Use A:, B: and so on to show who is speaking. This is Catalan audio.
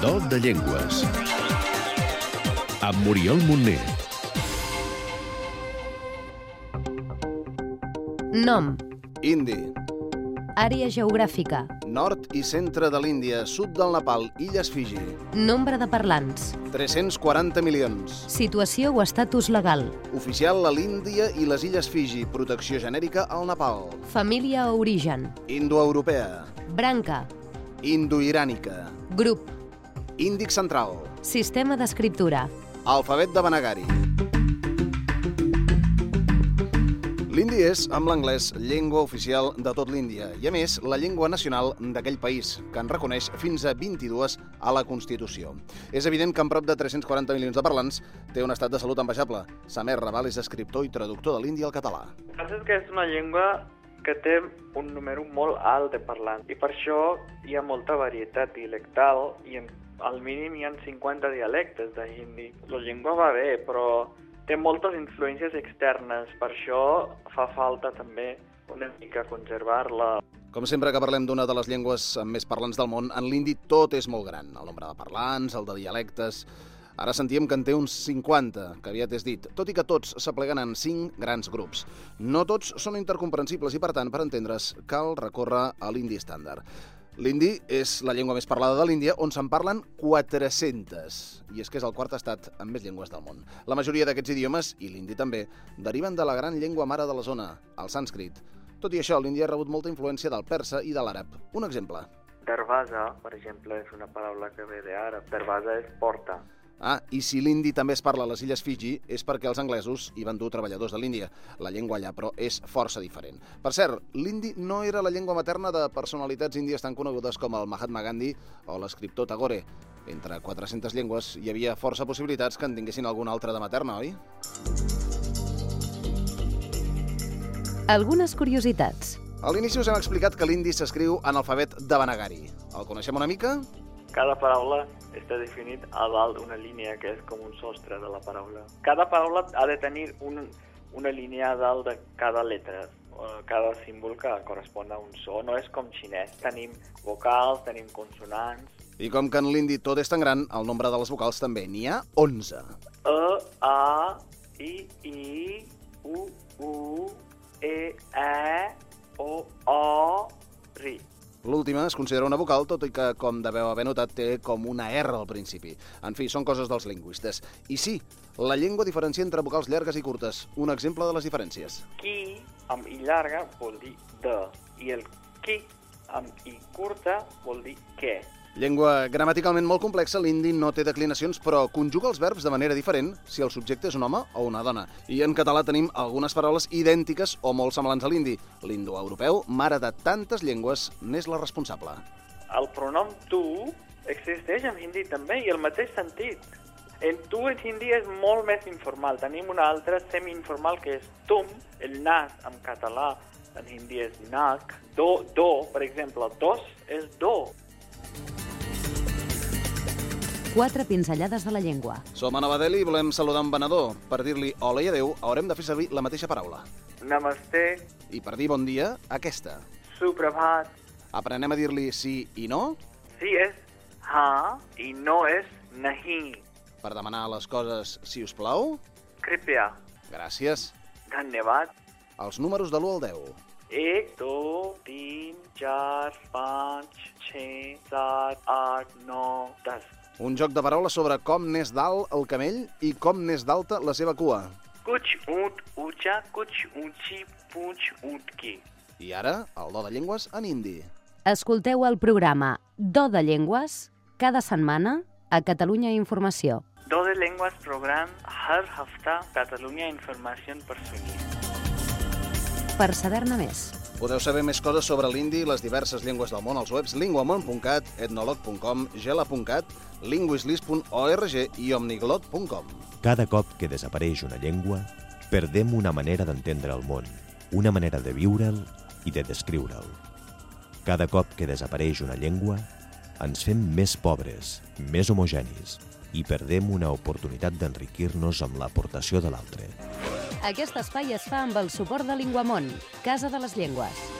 A: Club de Llengües. Amb Oriol Montner.
B: Nom,
C: Indi,
B: àrea geogràfica,
C: nord i centre de l'Índia, sud del Nepal, illes Fiji.
B: nombre de parlants,
C: 340 milions.
B: situació o estatus legal,
C: Oficial a l'Índia i les illes Fiji, protecció genèrica al Nepal.
B: família o origen,
C: Indoeuropea,
B: branca,
C: indoirànica,
B: grup,
C: índic central,
B: sistema d'escriptura,
C: alfabet de Banagari. L'indi és, amb l'anglès, llengua oficial de tot l'Índia i, a més, la llengua nacional d'aquell país, que en reconeix fins a 22 a la Constitució. És evident que en prop de 340 milions de parlants té un estat de salut envejable. Samer Raval és escriptor i traductor de l'indi al català.
D: El que passa és que és una llengua que té un número molt alt de parlants i per això hi ha molta varietat dialectal i en, al mínim hi ha 50 dialectes de hindi. La llengua va bé, però té moltes influències externes, per això fa falta també una mica conservar-la.
C: Com sempre que parlem d'una de les llengües amb més parlants del món, en l'indi tot és molt gran. El nombre de parlants, el de dialectes... Ara sentíem que en té uns 50, que aviat és dit, tot i que tots s'apleguen en 5 grans grups. No tots són intercomprensibles i, per tant, per entendre's, cal recórrer a l'indi estàndard. L'indi és la llengua més parlada de l'Índia, on se'n parlen 400, i és que és el quart estat amb més llengües del món. La majoria d'aquests idiomes, i l'indi també, deriven de la gran llengua mare de la zona, el sànscrit. Tot i això, l'Índia ha rebut molta influència del persa i de l'àrab. Un exemple.
D: Darvasa, per exemple, és una paraula que ve d'àrab. Darvasa és porta.
C: Ah, i si l'indi també es parla a les illes Fiji és perquè els anglesos hi van dur treballadors de l'Índia. La llengua allà, però, és força diferent. Per cert, l'indi no era la llengua materna de personalitats índies tan conegudes com el Mahatma Gandhi o l'escriptor Tagore. Entre 400 llengües hi havia força possibilitats que en tinguessin alguna altra de materna, oi?
B: algunes curiositats.
C: A l'inici us hem explicat que l'indi s'escriu en alfabet de Banagari. El coneixem una mica?
D: Cada paraula està definit a dalt una línia que és com un sostre de la paraula. Cada paraula ha de tenir un, una línia a dalt de cada letra, eh, cada símbol que correspon a un so. No és com xinès. Tenim vocals, tenim consonants.
C: I com que en l'indi tot és tan gran, el nombre de les vocals també. N'hi ha 11.
D: E, A, I, I, U, U, E, E, O, O, RI.
C: L'última es considera una vocal, tot i que, com deveu haver notat, té com una R al principi. En fi, són coses dels lingüistes. I sí, la llengua diferencia entre vocals llargues i curtes. Un exemple de les diferències.
D: Qui amb i llarga vol dir de i el qui amb i curta vol dir què.
C: Llengua gramaticalment molt complexa, l'indi no té declinacions, però conjuga els verbs de manera diferent si el subjecte és un home o una dona. I en català tenim algunes paraules idèntiques o molt semblants a l'indi. L'indoeuropeu, mare de tantes llengües, n'és la responsable.
D: El pronom tu existeix en hindi també i el mateix sentit. El tu en hindi és molt més informal. Tenim una altra semi-informal que és tum, el nas en català en hindi és nac, do, do, per exemple, dos és do.
B: Quatre pinzellades de la llengua.
C: Som a Nova Delhi i volem saludar en Benador. Per dir-li hola i adeu, haurem de fer servir la mateixa paraula.
D: Namaste,
C: I per dir bon dia, aquesta.
D: suprabhat.
C: Aprenem a dir-li sí i no,
D: Sí és ha i no és nahi.
C: per demanar les coses si us plau.
D: Kripya,
C: Gràcies.
D: धन्यवाद
C: Els números de l'1 al 10.
D: एक दो तीन चार पाँच छ सात आठ नौ दस
C: Un joc de paraules sobre com n'és dalt el camell i com n'és d'alta la seva cua.
D: कुछ ऊँट ऊंचा कुछ ऊंची पूछ ऊँट की
C: I ara, el do de llengües en hindi.
B: Escolteu el programa Do de Llengües cada setmana a Catalunya Informació.
D: दो दे लेंगवास प्रोग्राम हर हफ्ता कैटलोनिया इन्फॉर्मेशन पर सुनिए
B: Per saber-ne més,
C: Podeu saber més coses sobre l'indi i les diverses llengües del món als webs linguamon.cat, etnolog.com, gela.cat, linguislis.org i omniglot.com.
E: Cada cop que desapareix una llengua, perdem una manera d'entendre el món, una manera de viure'l i de descriure'l. Cada cop que desapareix una llengua, ens fem més pobres, més homogenis i perdem una oportunitat d'enriquir-nos amb l'aportació de l'altre.
B: aquest espai es fa amb el suport de Linguamont, Casa de les Llengües.